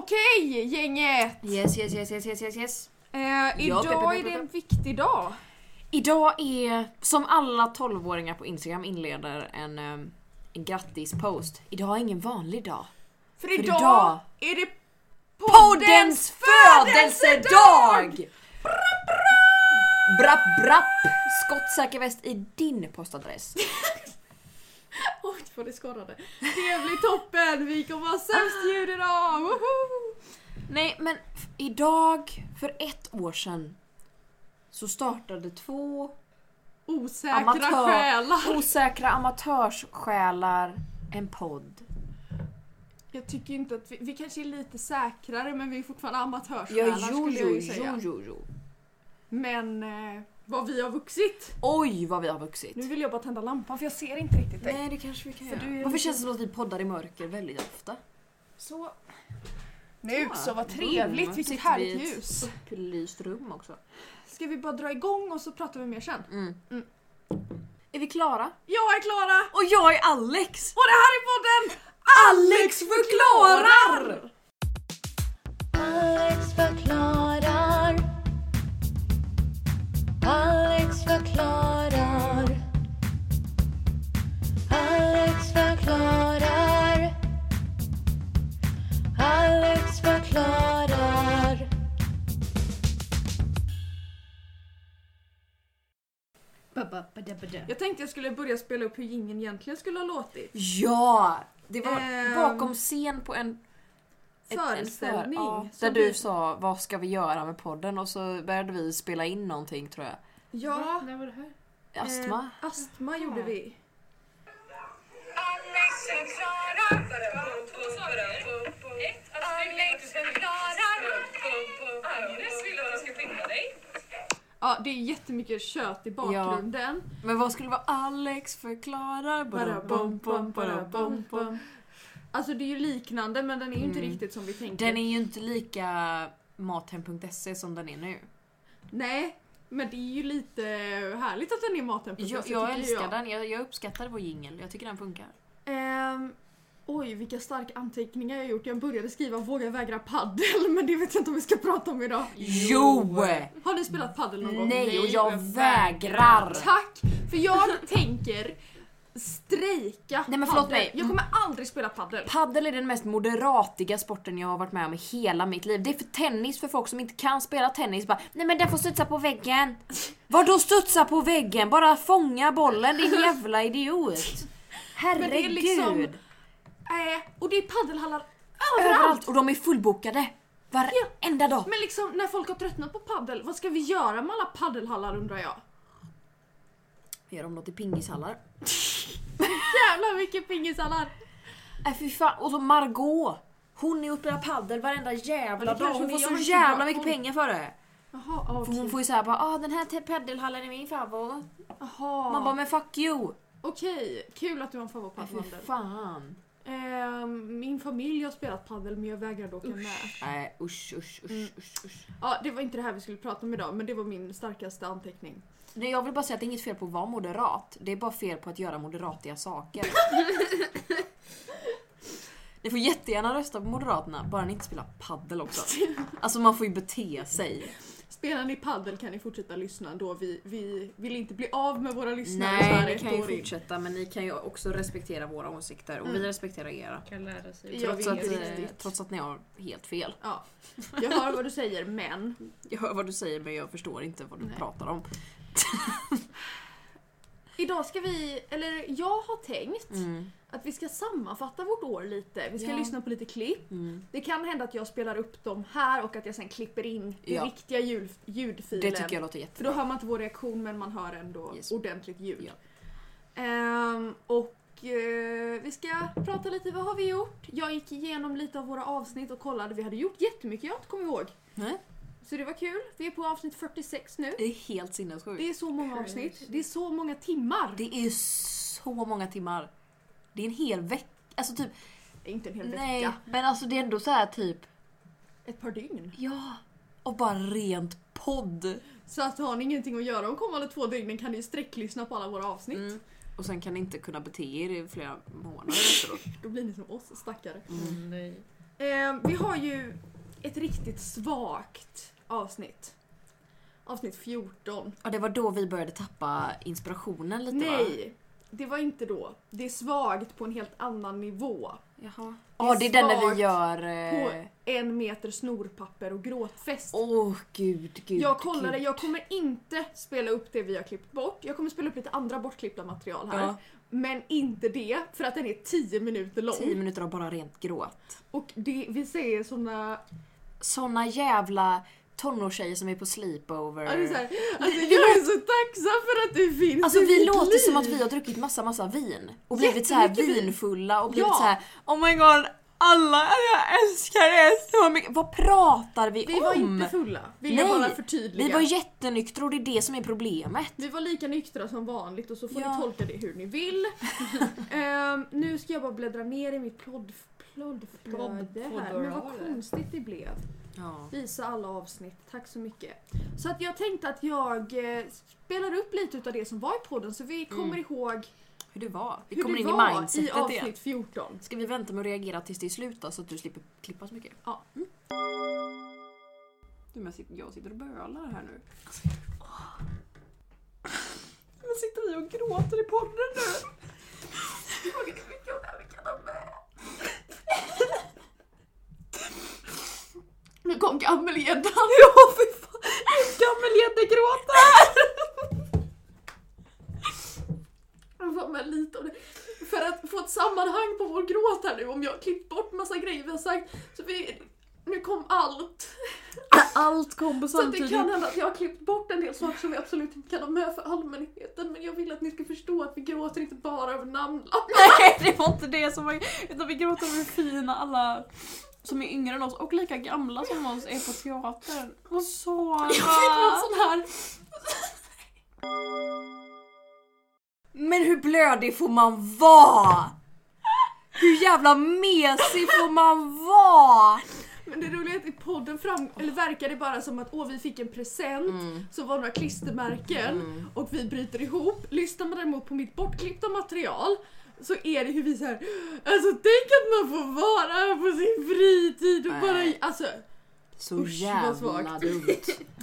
Okej gänget! Yes, yes, yes, yes, yes, yes, yes. Eh, Ja, pep, idag pep, är det pep, en viktig dag. Idag är, som alla 12-åringar på Instagram inleder en, ehm, en grattispost. Idag är ingen vanlig dag. För För idag, idag är det Poddens födelsedag! Brapp brapp! Skottsäker väst i din postadress. Oj vad det skorrade. Det blir toppen! Vi kommer ha sämst ljud idag! Woho! Nej men f- idag, för ett år sedan, så startade två Osäkra Amatör. själar. osäkra amatörssjälar en podd. Jag tycker inte att vi, vi kanske är lite säkrare men vi är fortfarande amatörsjälar Ja, jo, skulle jag jo, ju säga. jo, jo, jo. Men eh, vad vi har vuxit. Oj vad vi har vuxit. Nu vill jag bara tända lampan för jag ser inte riktigt dig. Nej det kanske vi kan För göra. du är Varför lite- känns det som att vi poddar i mörker väldigt ofta? Så. Nu Ja, så, vad boom. trevligt! Vilket Sitter vi härligt i ett ljus. Upplyst rum också. Ska vi bara dra igång och så pratar vi mer sen? Mm. Mm. Är vi klara? Jag är Klara! Och jag är Alex! Och det här är podden Alex förklarar! Alex förklarar. Alex förklarar. Alex förklarar. Alex förklarar. Jag tänkte jag skulle börja spela upp hur jingeln egentligen skulle ha låtit. Ja! Det var Ehm, bakom scen på en... ett- Föreställning. En för, ja, som där du vi- sa vad ska vi göra med podden och så började vi spela in någonting tror jag. Ja, När var det här? Ehm. Astma? Eh, astma gjorde vi. Alex förklarar. Två saker. Alex förklarar. Agnes vill att jag ska skynda dig. Ja, det är jättemycket kött i bakgrunden. Men vad skulle vara Alex förklarar? Bara bom, bom, bara bom, bom. bom. Alltså det är ju liknande men den är ju inte Mm. riktigt som vi tänkte. Den är ju inte lika mathem.se E som den är nu. Nej, men det är ju lite härligt att den är maten på Jag, alltså, jag älskar den, jag, jag uppskattar vår jingel, jag tycker den funkar. Ehm, oj, vilka starka anteckningar jag har gjort. Jag började skriva våga vägra paddel men det vet jag inte om vi ska prata om idag. Jo! Har ni spelat paddel någon gång? Nej och jag vägrar! Tack! För jag tänker strejka Nej, men förlåt padel. mig. Jag kommer aldrig spela paddel. Paddel är den mest moderatiga sporten jag har varit med om i hela mitt liv. Det är för tennis för folk som inte kan spela tennis. Bara, Nej men den får studsa på väggen. Vadå studsa på väggen? Bara fånga bollen din jävla idiot. Men Herregud. det är liksom Eh, och det är paddelhallar överallt. Överallt och de är fullbokade. Varenda dag. Men liksom när folk har tröttnat på paddel, vad ska vi göra med alla paddelhallar undrar jag? Gör de något i pingishallar? Jävlar mycket pingishallar! Nej Äh, fy fan. Och så Margot. Hon är uppe och spelar paddel varenda jävla Men det dag. kanske Hon vi får gör så med jävla tillbaka. mycket pengar för det. Jaha, ah, För okej. hon får ju såhär bara ah den här te- paddelhallen är min favorit. Jaha. Man bara men fuck you. Okej, kul att du har en Nej, fy favoritpaddel. fan. Eh, min familj har spelat paddel men jag vägrade åka med. Nej usch usch usch, Mm. usch usch. Ja, det var inte det här vi skulle prata om idag men det var min starkaste anteckning. Nej, jag vill bara säga att det är inget fel på att vara moderat. Det är bara fel på att göra moderatiga saker. ni får jättegärna rösta på Moderaterna, bara ni inte spelar paddel också. Alltså man får ju bete sig. Spelar ni paddel kan ni fortsätta lyssna då. Vi, vi vill inte bli av med våra lyssnare så Nej, här ni ett kan ju år in. fortsätta men ni kan ju också respektera våra åsikter och Mm. vi respekterar era. Kan lära sig. Jag Trots vet att, inte eh, riktigt. trots att ni har helt fel. Jag hör vad du säger men Jag hör vad du säger men jag förstår inte vad du Nej. pratar om. Idag ska vi, eller jag har tänkt Mm. att vi ska sammanfatta vårt år lite. Vi ska Ja. lyssna på lite klipp. Mm. Det kan hända att jag spelar upp dem här och att jag sen klipper in den Ja. riktiga ljud, ljudfilen. Det tycker jag låter För då jättebra. hör man inte vår reaktion men man hör ändå Yes. ordentligt ljud. Ja. Ehm, och eh, vi ska prata lite, vad har vi gjort? Jag gick igenom lite av våra avsnitt och kollade, vi hade gjort jättemycket jag inte kommer ihåg. Nej. Så det var kul. Vi är på avsnitt 46 nu. Det är helt sinnessjukt. Det är så många avsnitt, det är så många timmar. Det är så många timmar. Det är en hel vecka. Alltså typ, Inte en hel nej. vecka, Men alltså det är ändå så här typ, ett par dygn. ja. Och bara rent podd. Så att har ni ingenting att göra de kommande två dygnen kan ni sträcklyssna på alla våra avsnitt. Mm. Och sen kan ni inte kunna bete er i flera månader efteråt. Då blir ni som oss stackare. Mm, nej. Eh, vi har ju ett riktigt svagt avsnitt. Avsnitt 14. Och det var då vi började tappa inspirationen lite va? Nej, det var inte då. Det är svagt på en helt annan nivå. Jaha. Ja det är den där vi gör... På eh, en meter snorpapper och gråtfest. Åh gud, gud. jag kollade, gud. jag kommer inte spela upp det vi har klippt bort. Jag kommer spela upp lite andra bortklippta material här. Ja. Men inte det, för att den är 10 minuter lång. 10 minuter av bara rent gråt. Och det, vi säger såna... Såna jävla tonårstjejer som är på sleepover. Ja, det är så här, alltså, jag är så tacksam för att du finns Alltså i vi mitt låter liv. som att vi har druckit massa massa vin och blivit så här Jättemycket vin. vinfulla och blivit Ja. så här Oh my god, alla, jag älskar er så mycket. Vad pratar vi, Vi om? var inte fulla, vill jag bara förtydliga. vi var jättenyktra och det är det som är problemet. Vi var lika nyktra som vanligt och så får Ja. ni tolka det hur ni vill. Ehm, nu ska jag bara bläddra ner i mitt plodd, ploddflöde Plodd- här. Men vad ploddorale. konstigt det blev. Ja. Visa alla avsnitt, tack så mycket. Så att jag tänkte att jag eh, spelar upp lite utav det som var i podden så vi kommer ihåg Hur det var. Mm. Vi hur kommer det in i var i mindsetet igen. avsnitt 14. Ska vi vänta med att reagera tills det är slut då, så att du slipper klippa så mycket? Ja. Mm. Du, men jag sitter- jag sitter och bölar här nu. Men sitter vi och gråter i podden nu? Nu kom gammelgäddan! Ja fy fan! Gammelgäddegråtar! Jag får med lite av det. För att få ett sammanhang på vår gråt här nu om jag har klippt bort massa grejer vi har sagt. Så vi, nu kom allt. Allt kom på Så att det kan hända att jag har klippt bort en del saker som vi absolut inte kan ha med för allmänheten. Men jag vill att ni ska förstå att vi gråter inte bara över namnlapp. Nej det var inte det som var utan vi gråter över fina alla som är yngre än oss och lika gamla som oss är på teatern. Och så... Jag fick någon sån här... Men hur blödig får man vara? Hur jävla mesig får man vara? Men det roliga är att i podden fram, eller verkar det bara som att åh vi fick en present Mm. som var några klistermärken och vi bryter ihop. Lyssnar man däremot på mitt bortklippta material så är det hur vi såhär, alltså tänk att man får vara på sin fritid och bara, Nej. alltså Så Usch, vad jävla svagt. dumt.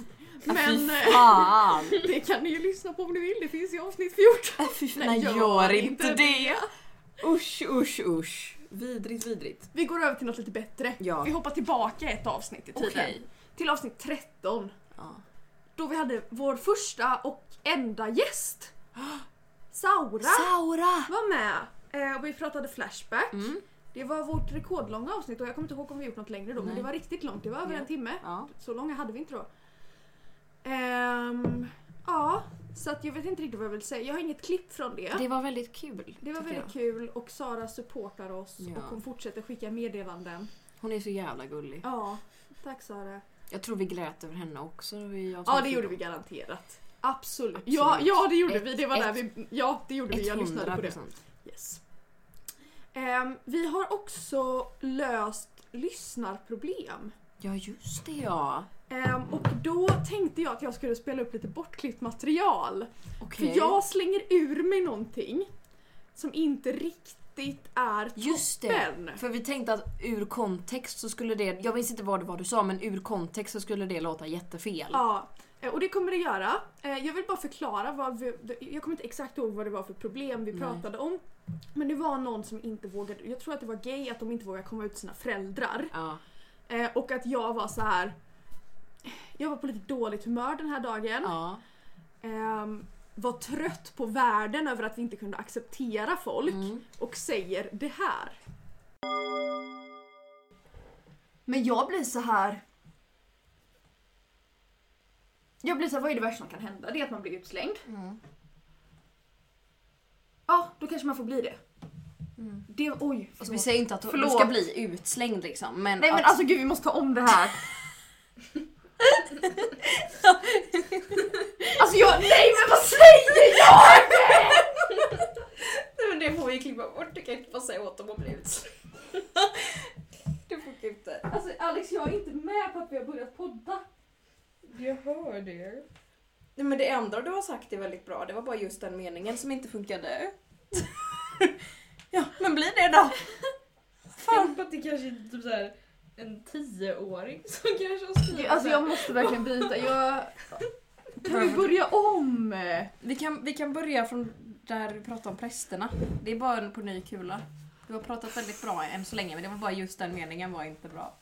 men Fy eh, fan. det kan ni ju lyssna på om ni vill, det finns i avsnitt 14. Fy fan. Nej, Nej, gör gör inte inte det. Usch, usch, usch. Vidrigt, vidrigt. Vi går över till något lite bättre. Ja. Vi hoppar tillbaka ett avsnitt i tiden. Okej. Till avsnitt 13. Ja. Då vi hade vår första och enda gäst. Saura Saura! var med eh, och vi pratade Flashback. Mm. Det var vårt rekordlånga avsnitt och jag kommer inte ihåg om vi gjort något längre då men Nej. det var riktigt långt, det var över Ja. en timme. Ja. Så långa hade vi inte då. Ehm, ja, så att jag vet inte riktigt vad jag vill säga. Jag har inget klipp från det. Det var väldigt kul. Det var tycker väldigt jag. kul och Sara supportar oss Ja. och hon fortsätter skicka meddelanden. Hon är så jävla gullig. Ja, tack Sara. Jag tror vi grät över henne också. när vi- jag Ja såg det gjorde vi filmen. garanterat. Absolut. Absolut. Ja, ja det gjorde Ett- vi. Det var där vi... Ja det gjorde vi. Jag lyssnade på det. 100%. Yes. Ehm, vi har också löst lyssnarproblem. Ja just det ja. Ehm, och då tänkte jag att jag skulle spela upp lite bortklippt material. Okej. För jag slänger ur mig någonting som inte riktigt är Just toppen. det, för vi tänkte att ur kontext så skulle det, jag minns inte vad det var du sa men ur kontext så skulle det låta jättefel. Ja, eh, och det kommer det göra. Eh, Jag vill bara förklara vad vi, Jag kommer inte exakt ihåg vad det var för problem vi Nej. pratade om. Men det var någon som inte vågade, jag tror att det var gay, att de inte vågade komma ut till sina föräldrar. Ja. Eh, Och att jag var så här. Jag var på lite dåligt humör den här dagen. ja. Ehm, var trött på världen över att vi inte kunde acceptera folk Mm. och säger det här. Men jag blir så här. Jag blir så här, vad är det värsta som kan hända? Det är att man blir utslängd. Ja, då kanske man får bli det. Det, oj, Alltså, förlåt. vi säger inte att Förlåt. du ska bli utslängd liksom men, Nej men att, alltså gud vi måste ta om det här. alltså jag, nej men vad säger jag? Nej men det får vi klippa bort, du kan inte bara säga åt dem att bli utslängd. det funkar inte. Alltså Alex jag är inte med på att vi har börjat podda. Jag hör det. Nej men det andra du har sagt är väldigt bra, det var bara just den meningen som inte funkade. ja men bli det då. Fan. Tänk på att det kanske är typ såhär en tioåring som kanske har skrivit Alltså det här. jag måste verkligen byta. Jag... Kan vi börja om? Vi kan, vi kan börja från där du pratade om prästerna. Det är bara en på ny kula. Du har pratat väldigt bra än så länge men det var bara just den meningen var inte bra.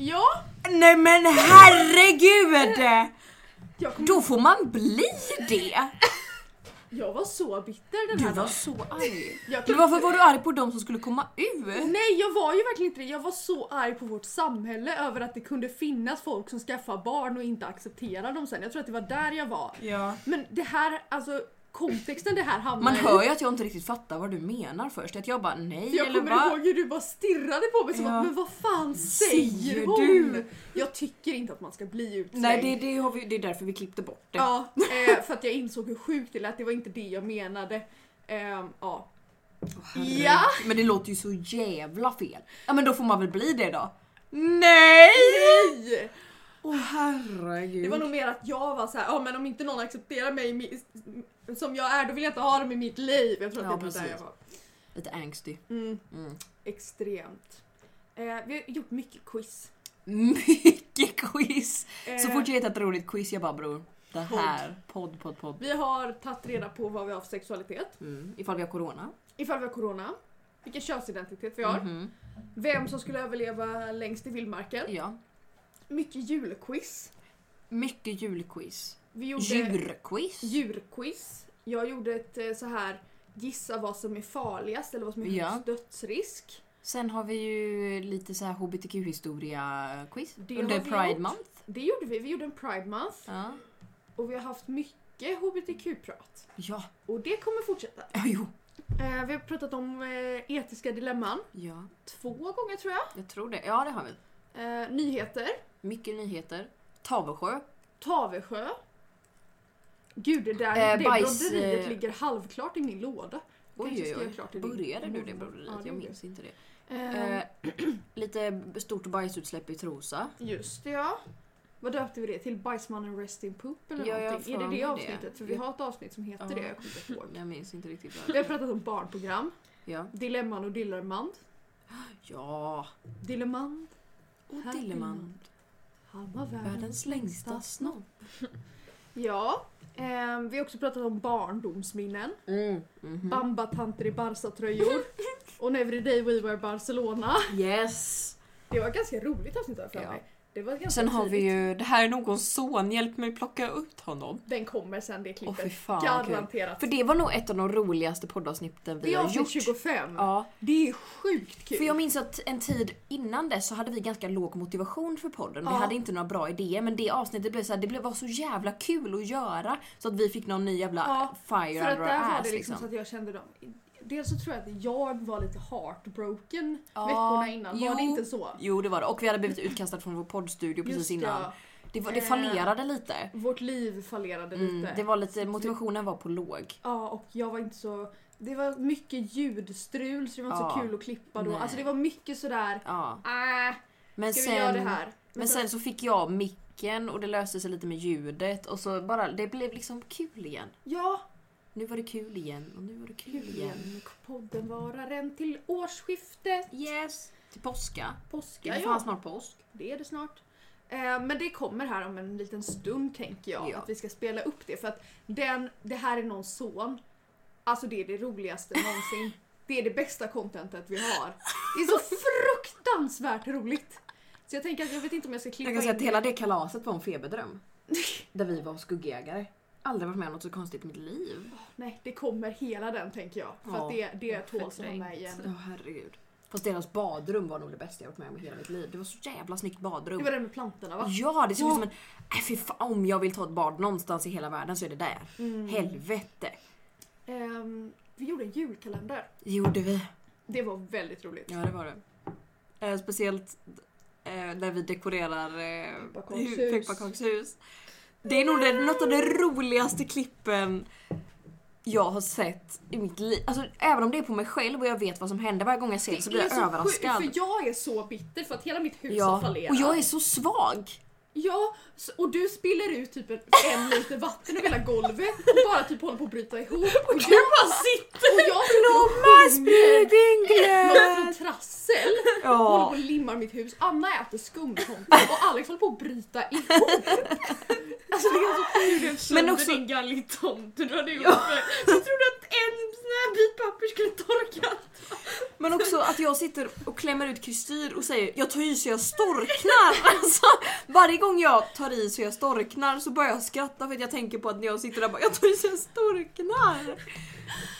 Ja, Nej men herregud! jag, kom... Då får man bli det! jag var så bitter den Du här var dagen. så arg. Jag Men kan... varför var du arg på dem som skulle komma ut? Nej jag var ju verkligen inte det. Jag var så arg på vårt samhälle över att det kunde finnas folk som skaffar barn och inte accepterar dem sen. Jag tror att det var där jag var. Ja. Men det här, alltså kontexten det här hamnar Man i- hör ju att jag inte riktigt fattar vad du menar först. Att jag bara För nej jag eller kommer vad? ihåg hur du bara stirrade på mig som Ja. att men vad fan Säger säger hon? du? Jag tycker inte att man ska bli utslängd. Nej det, det, har vi, det är därför vi klippte bort det. Ja, eh, för att jag insåg hur sjukt det lät. Det var inte det jag menade. Eh, ja. Herregud. Ja. Men det låter ju så jävla fel. Ja men då får man väl bli det då. Nej! Nej! Åh herregud. Det var nog mer att jag var så här, ja men om inte någon accepterar mig mi- som jag är då vill jag inte ha dem i mitt liv. Jag tror att Ja, det var där jag precis. var. Lite angsty. Mm, Mm. extremt. Eh, vi har gjort mycket quiz. Mycket quiz. Eh, Så fort jag hittar ett roligt quiz jag bara bror. Det här, podd, podd, podd. Vi har tagit reda på vad vi har för sexualitet. Mm. Ifall vi har corona. Ifall vi har corona. Vilken könsidentitet vi har. Mhm. Vem som skulle överleva längst i vildmarken. Ja. Mycket julquiz. Mycket julquiz. Vi gjorde Djurquiz. djurquiz. Jag gjorde ett eh, så här gissa vad som är farligast eller vad som är Ja. högst dödsrisk. Sen har vi ju lite så här hbtq-historia-quiz. Det Under har vi Pride gjort. month. Det gjorde vi. Vi gjorde en Pride Month Ja. och vi har haft mycket hbtq-prat. Ja. Och det kommer fortsätta. Ja, jo. Eh, vi har pratat om eh, etiska dilemman Ja, två gånger tror jag. jag tror det. Ja, det har vi. Eh, nyheter. Mycket nyheter. Tavelsjö. Tavesjö. Gud, det där Eh, det bajs, broderiet eh, ligger halvklart i min låda. Oj, Kanske oj, ska jag oj. klart i din- Började du Mm. det Ja, broderiet? det Jag gjorde minns inte det. jag. Eh, Eh, lite stort bajsutsläpp i Trosa. Just det ja. Vad döpte vi det till? Bajsmannen Rest in Poop eller Ja, jag någonting? Är får det det med avsnittet? det. För vi har ett avsnitt som heter Ja. det, jag kommer inte ihåg. Jag minns inte riktigt vad Vi har pratat om barnprogram. Ja. Dilemman och Dillermand. Ja. Dillermand. Och Här Dillerman. Han var Världens längsta snopp. Ja. Ehm, vi har också pratat om barndomsminnen. Mm. Bambatanter i Barca-tröjor. och Every Day We Were Barcelona. Yes! Det var ett ganska roligt avsnitt har jag för Ja. mig. Det var ganska Sen har vi tidigt. ju, det här är någons son, hjälp mig plocka ut honom. Den kommer sen det Åh klippet. fy fan kul. Garanterat. För det var nog ett av de roligaste poddavsnitten vi det är har avsnitt gjort. 25. Ja, Det är sjukt kul. för jag minns att en tid innan dess så hade vi ganska låg motivation för podden. Vi Ja. hade inte några bra idéer men det avsnittet blev så här, det blev, var så jävla kul att göra så att vi fick någon ny jävla Ja, fire För att under där our var ass det liksom, liksom. så att jag kände dem. Dels så tror jag att jag var lite heartbroken Ja, veckorna innan. Var det jo. inte så? Jo det var det och vi hade blivit utkastade från vår poddstudio precis Just det, innan. ja. Det, var, det Eh. fallerade lite. Vårt liv fallerade lite. Mm, det var lite, motivationen var på låg. Ja, och jag var inte så... Det var mycket ljudstrul så det var inte så Ja. kul att klippa då. Nej. Alltså det var mycket sådär... Ja. Äh, Men ska sen, vi göra det här? Alltså- Men sen så fick jag micken och det löste sig lite med ljudet och så bara, det blev liksom kul igen. Ja, Nu var det kul igen och nu var det kul kul igen. igen. Podden varar en till årsskiftet. Yes! Till påska. Det Påska, är ja. fan snart påsk. Det är det snart. Eh, Men det kommer här om en liten stund tänker jag. Ja. Att vi ska spela upp det. För att den, det här är någons son. Alltså det är det roligaste någonsin. Det är det bästa contentet vi har. Det är så fruktansvärt roligt. Så jag tänker att jag vet inte om jag ska klippa Jag kan säga att in hela det kalaset var en feberdröm. Där vi var skuggjägare. Aldrig varit med om något så konstigt i mitt liv. Nej, det kommer hela den tänker jag. För Ja, att det, det jag har tåls att vara förträngt. med igen. Ja herregud. Fast deras badrum var nog det bästa jag varit med om i hela mitt liv. Det var så jävla snyggt Det badrum. var det med plantorna va? Ja, det ser ut Ja. som en... Äh, fy fan, om jag vill ta ett bad någonstans i hela världen så är det där. Helvete. Mm. Ehm, vi gjorde en julkalender. Det gjorde vi. Det var väldigt roligt. Ja det var det. Eh, speciellt eh, när vi dekorerar eh, Pepparkakshus. hu- pepparkakshus. Det är nog det, något av de roligaste klippen jag har sett i mitt liv. Alltså, även om det är på mig själv och jag vet vad som händer varje gång jag ser det, så blir är jag så sjukt, överraskad. För jag är så bitter för att hela mitt hus har ja. fallerat. Och jag är så svag. Ja, s- och du spiller ut typ en- fem liter vatten över hela golvet och bara typ håller på att bryta ihop. Och du bara sitter och jag Blomma sprider spriding någon glöd! från trassel och håller på Ja. och limmar mitt hus. Anna äter skumtomtar och Alex håller på att bryta ihop. Alltså det är så sjukt. Men också- också din gallitomte du hade gjort för. Jag trodde att en sån här bit papper skulle torka. Men också att jag sitter och klämmer ut kristyr och säger jag tar i så jag storknar. Alltså, varje gång jag tar i så jag storknar så börjar jag skratta för att jag tänker på att när jag sitter där och bara jag tar i så jag storknar.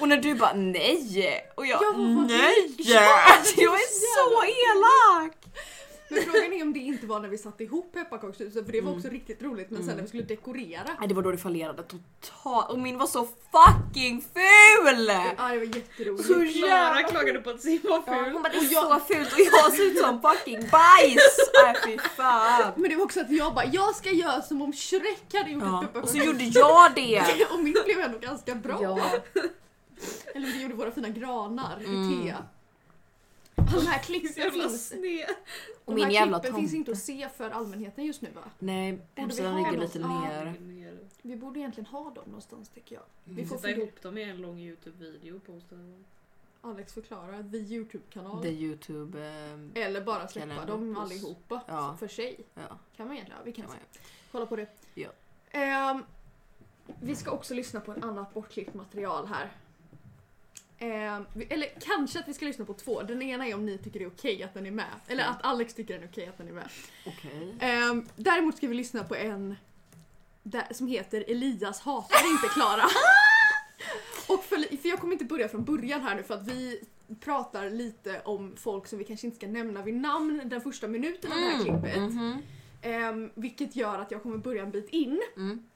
Och när du bara nej och jag Jag var faktiskt- nej. Alltså, jag är så elak. Men frågan är om det inte var när vi satte ihop pepparkakshuset för det Mm. var också riktigt roligt men sen när vi skulle dekorera. Nej, det var då det fallerade totalt och min var så fucking ful! Ja det var jätteroligt. Så Klara jävla klagade på att Sim var ful. Hon ful. bara det är så fult och jag ser ut som fucking bajs! Nej fy fan. Men det var också att jag bara, jag ska göra som om Shrek hade gjort ett Ja. Och så pepparkakshus. gjorde jag det! Och mitt blev ändå ganska bra. Eller vi gjorde våra fina granar Mm. i te. Alltså, De här klippen Jävla finns, sned. Och de min här jävla klippen tom. finns inte att se för allmänheten just nu va? Nej, vi hemsidan ha ligger dem? lite Ja. ner. Vi borde egentligen ha dem någonstans tycker jag. Vi får Sätta fundera. ihop dem i en lång Youtube-video på onsdagen. Alex förklarar att vi Youtube-kanal. The Youtube... ehm, Eller bara släppa Kanal. dem allihopa Ja. för sig. Ja. Kan man egentligen, ja, vi kan Kan man kolla på det. Ja. Ehm, vi ska också lyssna på en annat bortklippt material här. Ehm, vi, eller kanske att vi ska lyssna på två. Den ena är om ni tycker det är okej att den är med. Eller Mm. att Alex tycker den är okej att den är med. Okej. Ehm, däremot ska vi lyssna på en där, som heter Elias hatar inte Klara. Och för, för jag kommer inte börja från början här nu för att vi pratar lite om folk som vi kanske inte ska nämna vid namn den första minuten av det här klippet. Mhm. Ehm, vilket gör att jag kommer börja en bit in. Mm.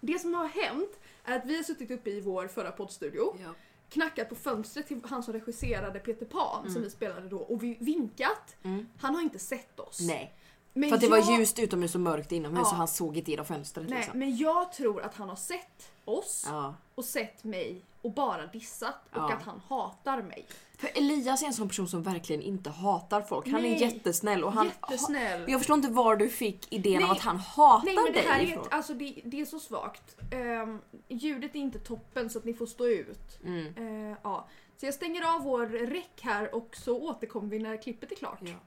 Det som har hänt är att vi har suttit uppe i vår förra poddstudio, Ja. knackat på fönstret till han som regisserade Peter Pan som vi spelade då och vi vinkat. Mm. Han har inte sett oss. Nej, Men för att det jag- var ljust utomhus och mörkt inomhus Ja. så han såg inte genom fönstret Nej, liksom. men jag tror att han har sett oss Ja. och sett mig och bara dissat och Ja. att han hatar mig. För Elias är en sån person som verkligen inte hatar folk. Han Nej. är jättesnäll och han... Jättesnäll. Ha, jag förstår inte var du fick idén Nej. av att han hatar Nej men det här dig är, ifrån. ett, alltså det, det är så svagt. Ehm, ljudet är inte toppen så att ni får stå ut. Mm. Eh, ja. Så jag stänger av vår räck här och så återkommer vi när klippet är klart. Ja.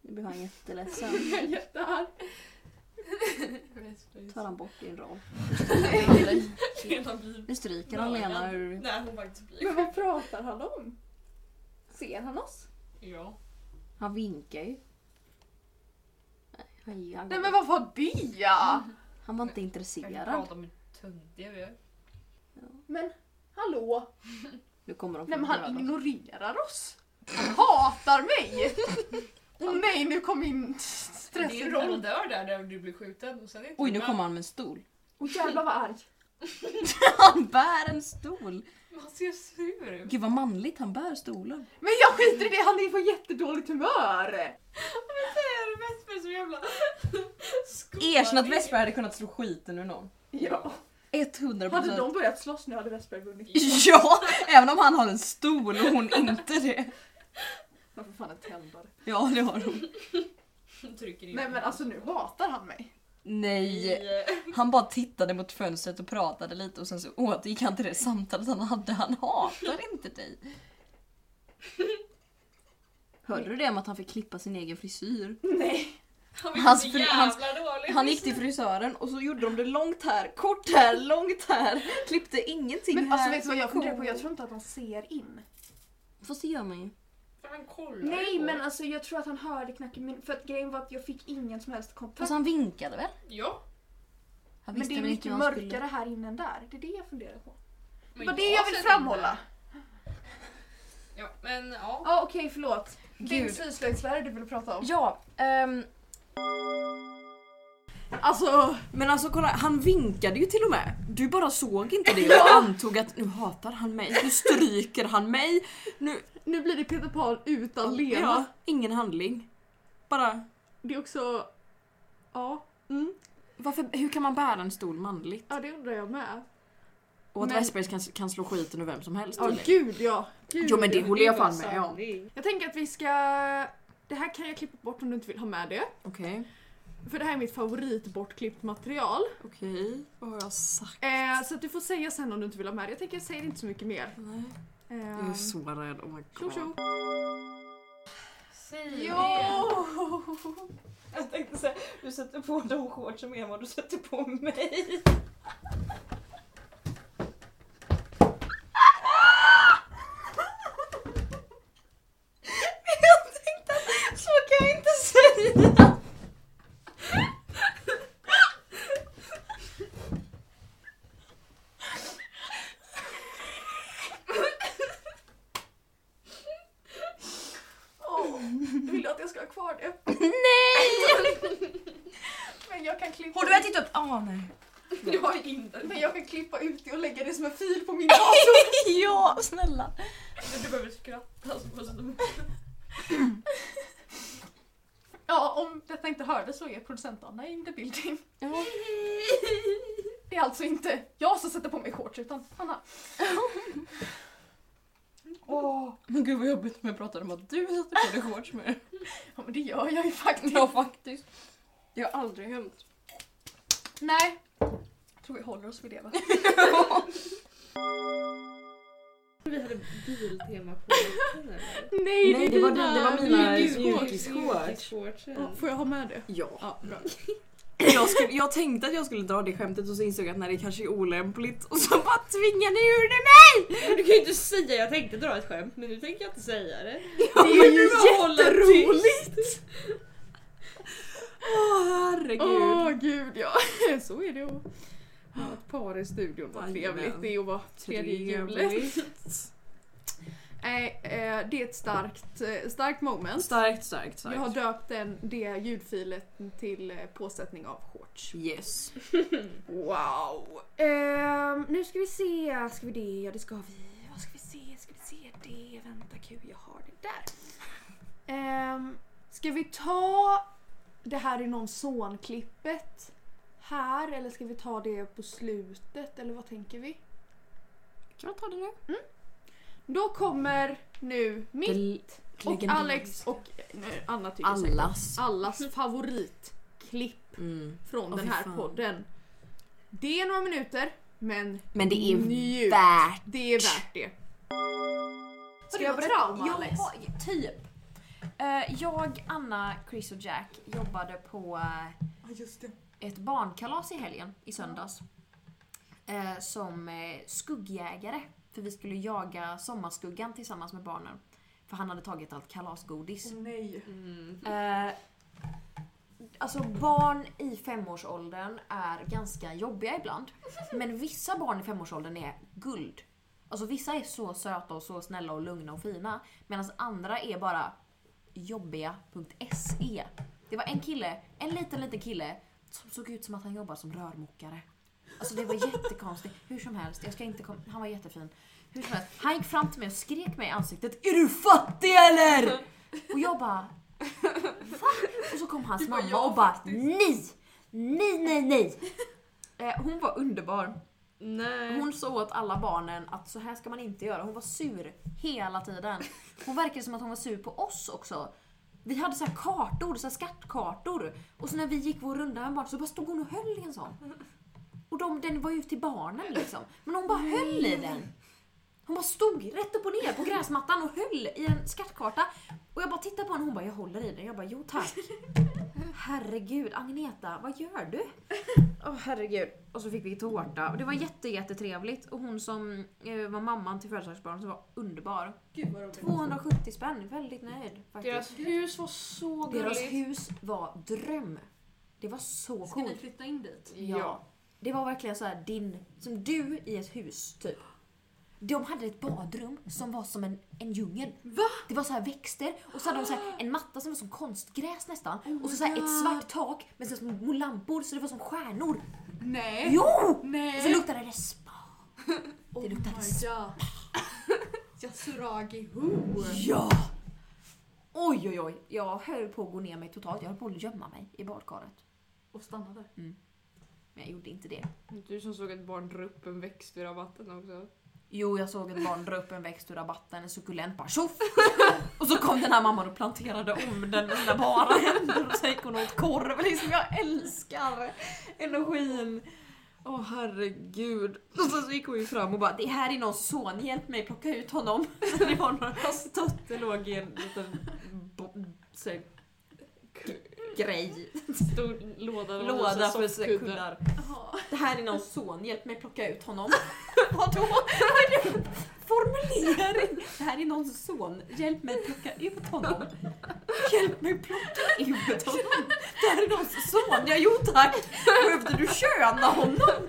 Nu blir han jätteledsen. Jag är jättearg. tar han bort din roll. Lena blir... Nu stryker han Nej, Lena jag- ur... Nej hon faktiskt blir... Men vad pratar han om? Ser han oss? Ja. Han vinkar ju. Nej, han, han, Nej men vad var det? han var inte Jag intresserad. pratar med töntiga vi är. Men hallå? Nu kommer de få Nej men han döda. ignorerar oss. Han hatar mig! Åh nej nu kom min stress Det är när igång. de dör där, där du blir skjuten och sen är inte Oj, nu de kommer han med en stol. Åh jävlar vad arg. Han bär en stol! med. Han ser sur ut. Gud vad manligt, han bär stolen. Men jag skiter i det, han är på jättedåligt humör! Men det är det mest med så jävla... Erkänn att Vesper hade kunnat slå skiten ur någon. Ja. 100%. Hade de börjat slåss nu hade Westberg vunnit. Ja! Även om han har en stol och hon inte det. Man får fan en tändare. Ja, det har hon. Hon trycker in. Nej men alltså nu hatar han mig. Nej. Han bara tittade mot fönstret och pratade lite och sen så återgick han till det samtalet han hade. Han hatar inte dig. Hörde du det om att han fick klippa sin egen frisyr? Nej. Han vill Hans så fru- jävla hans- dåligt. Han gick till frisören och så gjorde de det långt här, kort här, långt här. Klippte ingenting Men här. alltså vet du vad jag funderar på? Jag tror inte att han ser in. Fast det gör man ju. Han kollar Nej på. men alltså jag tror att han hörde knacken men för att grejen var att jag fick ingen som helst Fast kontakt. Alltså, han vinkade väl? Ja. Han Men det är väl mycket hur han skulle- mörkare här inne än där. Det är det jag funderar på. men Vad det är jag vill har sett framhålla. den. Ja, men ja. Ja okej förlåt. Din Gud. syslöjdslärare du ville prata om. Ja, ehm, Alltså men alltså kolla han vinkade ju till och med. Du bara såg inte det och antog att nu hatar han mig, nu stryker han mig. Nu, nu blir det Peter Pan utan Lena. ja, ingen handling. Bara, Det är också... Ja. Mm. varför, hur kan man bära en stol manligt? ja, det undrar jag med. Och att Men- Vespers kan, kan slå skiten ur vem som helst. Ja tydligen. gud ja. Gud. Jo, men det håller jag fan med om. om. Jag tänker att vi ska... Det här kan jag klippa bort om du inte vill ha med det. Okej, För det här är mitt favoritbortklippt material. okej. Vad har jag sagt? Eh, så att du får säga sen om du inte vill ha med det. Jag tänker jag säger inte så mycket mer. Nej. Jag Eh, är så rädd. Oh my tjo god. tjo. Säg Jo! det. Jag tänkte säga, du sätter på de shortsen mer än vad du sätter på mig. Men jag tänkte, så kan jag inte säga. Vill du att jag ska ha kvar det? Men jag kan klippa, Har du ätit upp? Ah, nej. Jag har inte. men jag kan klippa ut det och lägga det som en fil på min dator. ja, snälla. Du behöver skratta. så måste du- Ja, om detta inte hördes så är producent Anna in the building. Ja. Det är alltså inte jag som sätter på mig shorts utan Anna. Åh, Men gud vad jobbigt om jag pratade om att du sätter på dig shorts med. Ja men det gör jag ju faktiskt. Ja, faktiskt. Det har aldrig hänt. Nej. Jag tror vi håller oss vid det va? Vi hade biltema på eller? Nej, Nej, det var, dina, det var mina mjukisshorts. Mjukisshortsen. Får jag ha med det? Ja. Ja, bra. Jag, skulle, jag tänkte att jag skulle dra det skämtet och så insåg jag att nej, det kanske är olämpligt och så bara tvingade ni ur det mig! Men du kan ju inte säga jag tänkte dra ett skämt men nu tänker jag inte säga det. Ja, Det är ju jätteroligt! Åh herregud. Åh gud ja, så är det att vara ett par i studion. Vad Jajamän. trevligt det är att vara tredje hjulet. Nej, eh, det är ett starkt, eh, starkt moment. Starkt, starkt, Jag har starkt. döpt den, det ljudfilet till eh, påsättning av shorts. Yes. Wow! Ehm, nu ska vi se, ska vi det? Ja det ska vi. Vad ska vi se? Ska vi se det? Vänta gud, jag har det där. Ehm, ska vi ta det här i någon son-klippet här eller ska vi ta det på slutet eller vad tänker vi? Kan man ta det nu? Då kommer nu mitt och Alex och nej, Anna tycker säkert Allas. allas favoritklipp Mm. från Åh, den fy här fan. podden. Det är några minuter men Men det är Njut. värt. Det är värt det. Ska det jag var berätta trauma, om jag, Alex. har- Typ. Eh, jag, Anna, Chris och Jack jobbade på eh, ett barnkalas i helgen, i söndags. Eh, som eh, skuggjägare. För vi skulle jaga sommarskuggan tillsammans med barnen. För han hade tagit allt kalasgodis. Nej. Eh, alltså barn i femårsåldern är ganska jobbiga ibland. Men vissa barn i femårsåldern är guld. Alltså vissa är så söta och så snälla och lugna och fina. Medan andra är bara jobbiga.se. E. Det var en kille, en liten liten kille som såg ut som att han jobbade som rörmokare. Alltså det var jättekonstigt. Hur som helst, jag ska inte kom- han var jättefin. Hur som helst, han gick fram till mig och skrek mig i ansiktet. Är du fattig eller? Och jag bara Va? Och så kom hans mamma och bara nej! Nej, nej, nej! Eh, Hon var underbar. Nej. Hon sa åt alla barnen att så här ska man inte göra. Hon var sur hela tiden. Hon verkade som att hon var sur på oss också. Vi hade så här kartor, så här skattkartor. Och så när vi gick vår runda med barn så bara stod hon och höll i en sån. Och de, den var ju till barnen liksom. Men hon bara höll i den. Hon bara stod rätt upp och ner på gräsmattan och höll i en skattkarta. Och jag bara tittade på henne och hon bara jag håller i den. Jag bara jo tack. Herregud Agneta, vad gör du? Åh herregud. Och så fick vi tårta och det var jätte, jättetrevligt. Och hon som eh, var mamman till födelsedagsbarnet som var underbar. Gud vad roligt. 270 spänn, väldigt nöjd faktiskt. Deras, Deras hus var så gulligt. hus var dröm. Det var så Ska ni coolt. flytta in dit? Ja. Det var verkligen så här din, som du i ett hus typ. De hade ett badrum som var som en, en djungel. Va? Det var så här växter och så hade de så här en matta som var som konstgräs nästan. Oh och så, så här ett svart tak med så här små lampor så det var som stjärnor. Nej. Jo! Och så Nej. luktade det spa. Det luktade spa. Ja. Yasuragi Hu. Ja! Oj oj oj, jag höll på att gå ner mig totalt. Jag höll på att gömma mig i badkaret. Och stannade. Men men jag gjorde inte det. Du som såg ett barn dra upp en växt vid rabatten också. Jo, jag såg ett barn dra upp en växt ur rabatten, en suckulent bara tjoff! Och så kom den här mamman och planterade om den med sina bara händer och så gick hon och åt korv. Liksom, jag älskar energin! Åh herregud. Och sen så gick hon ju fram och bara det här är någons son, hjälp mig plocka ut honom. Så det var några stötter låg i en liten bo- så här, grej, Stor låda. där man låda för har så här alltså, soffkuddar. kuddar. Jaha. Det här är någons son, hjälp mig plocka ut honom. Vadå? Vad är det för formulering? Det här är någons son, hjälp mig plocka ut honom. Hjälp mig plocka ut honom. Det här är någons son, ja jo tack. Behövde du köna honom?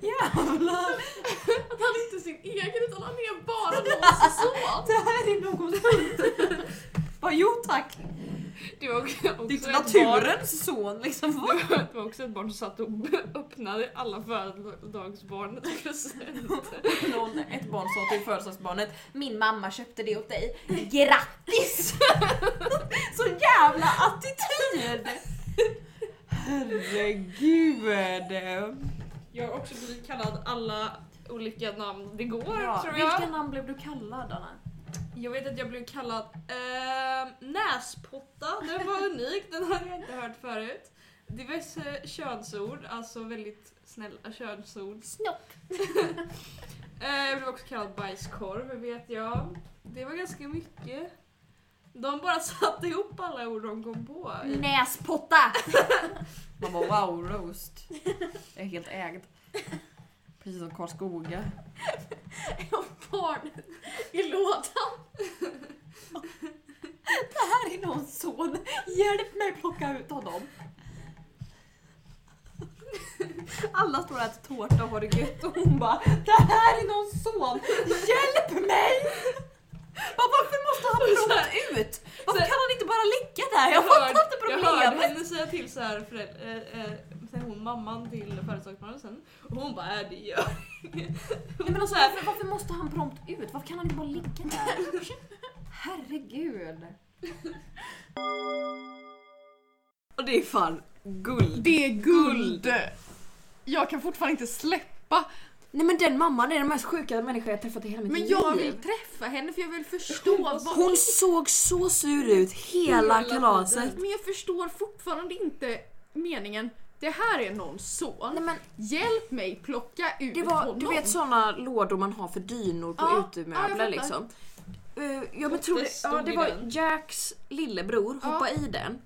Jävlar. Att han inte är sin egen utan han är bara någons son. Det här är någons son. Bara, jo tack. Det var också Det är inte ett barn- naturens son liksom. Vad? Det var också ett barn som satt och öppnade alla födelsedagsbarnets presenter. Någon, ett barn sa till födelsedagsbarnet Min mamma köpte det åt dig. Grattis! Så jävla attityd! Herregud! Jag har också blivit kallad alla olika namn det går Ja, tror jag. vilka namn blev du kallad Anna? Jag vet att jag blev kallad eh, näspotta, den var unik, den hade jag inte hört förut. Diverse könsord, alltså väldigt snälla könsord. Snopp. Eh, jag blev också kallad bajskorv vet jag. Det var ganska mycket. De bara satte ihop alla ord de kom på. Näspotta! Man bara wow roast. Jag är helt ägd. Precis som Karlskoga. Och barnet i lådan. Det här är någons son. Hjälp mig plocka ut honom. Alla står och äter tårta och har det gött och hon bara Det här är någons son. Hjälp mig! Va, varför måste han plocka ut? Varför kan han inte bara ligga där? Jag fattar inte Jag hörde problemet. henne säga till så här föräld- eh, eh, sen hon mamman till företagsmannen sen och hon bara äh, det gör inget." Nej, men alltså, varför, varför måste han prompt ut? Varför kan han inte bara ligga där? Herregud. Och det är fan guld. Det är guld. Jag kan fortfarande inte släppa. Nej men den mamman är den mest sjuka människa jag träffat i hela mitt Men jag vill träffa henne för jag vill förstå. vad- Hon såg så sur ut hela kalaset. Men jag förstår fortfarande inte meningen. Det här är någons son. Nej, men Hjälp mig plocka ut det var, honom. du vet såna lådor man har för dynor på Ja, ja, jag utemöbler fattar. liksom. Eh, ja, men tror det, stod ja, det i var den. Jacks lillebror Ja. hoppa i den.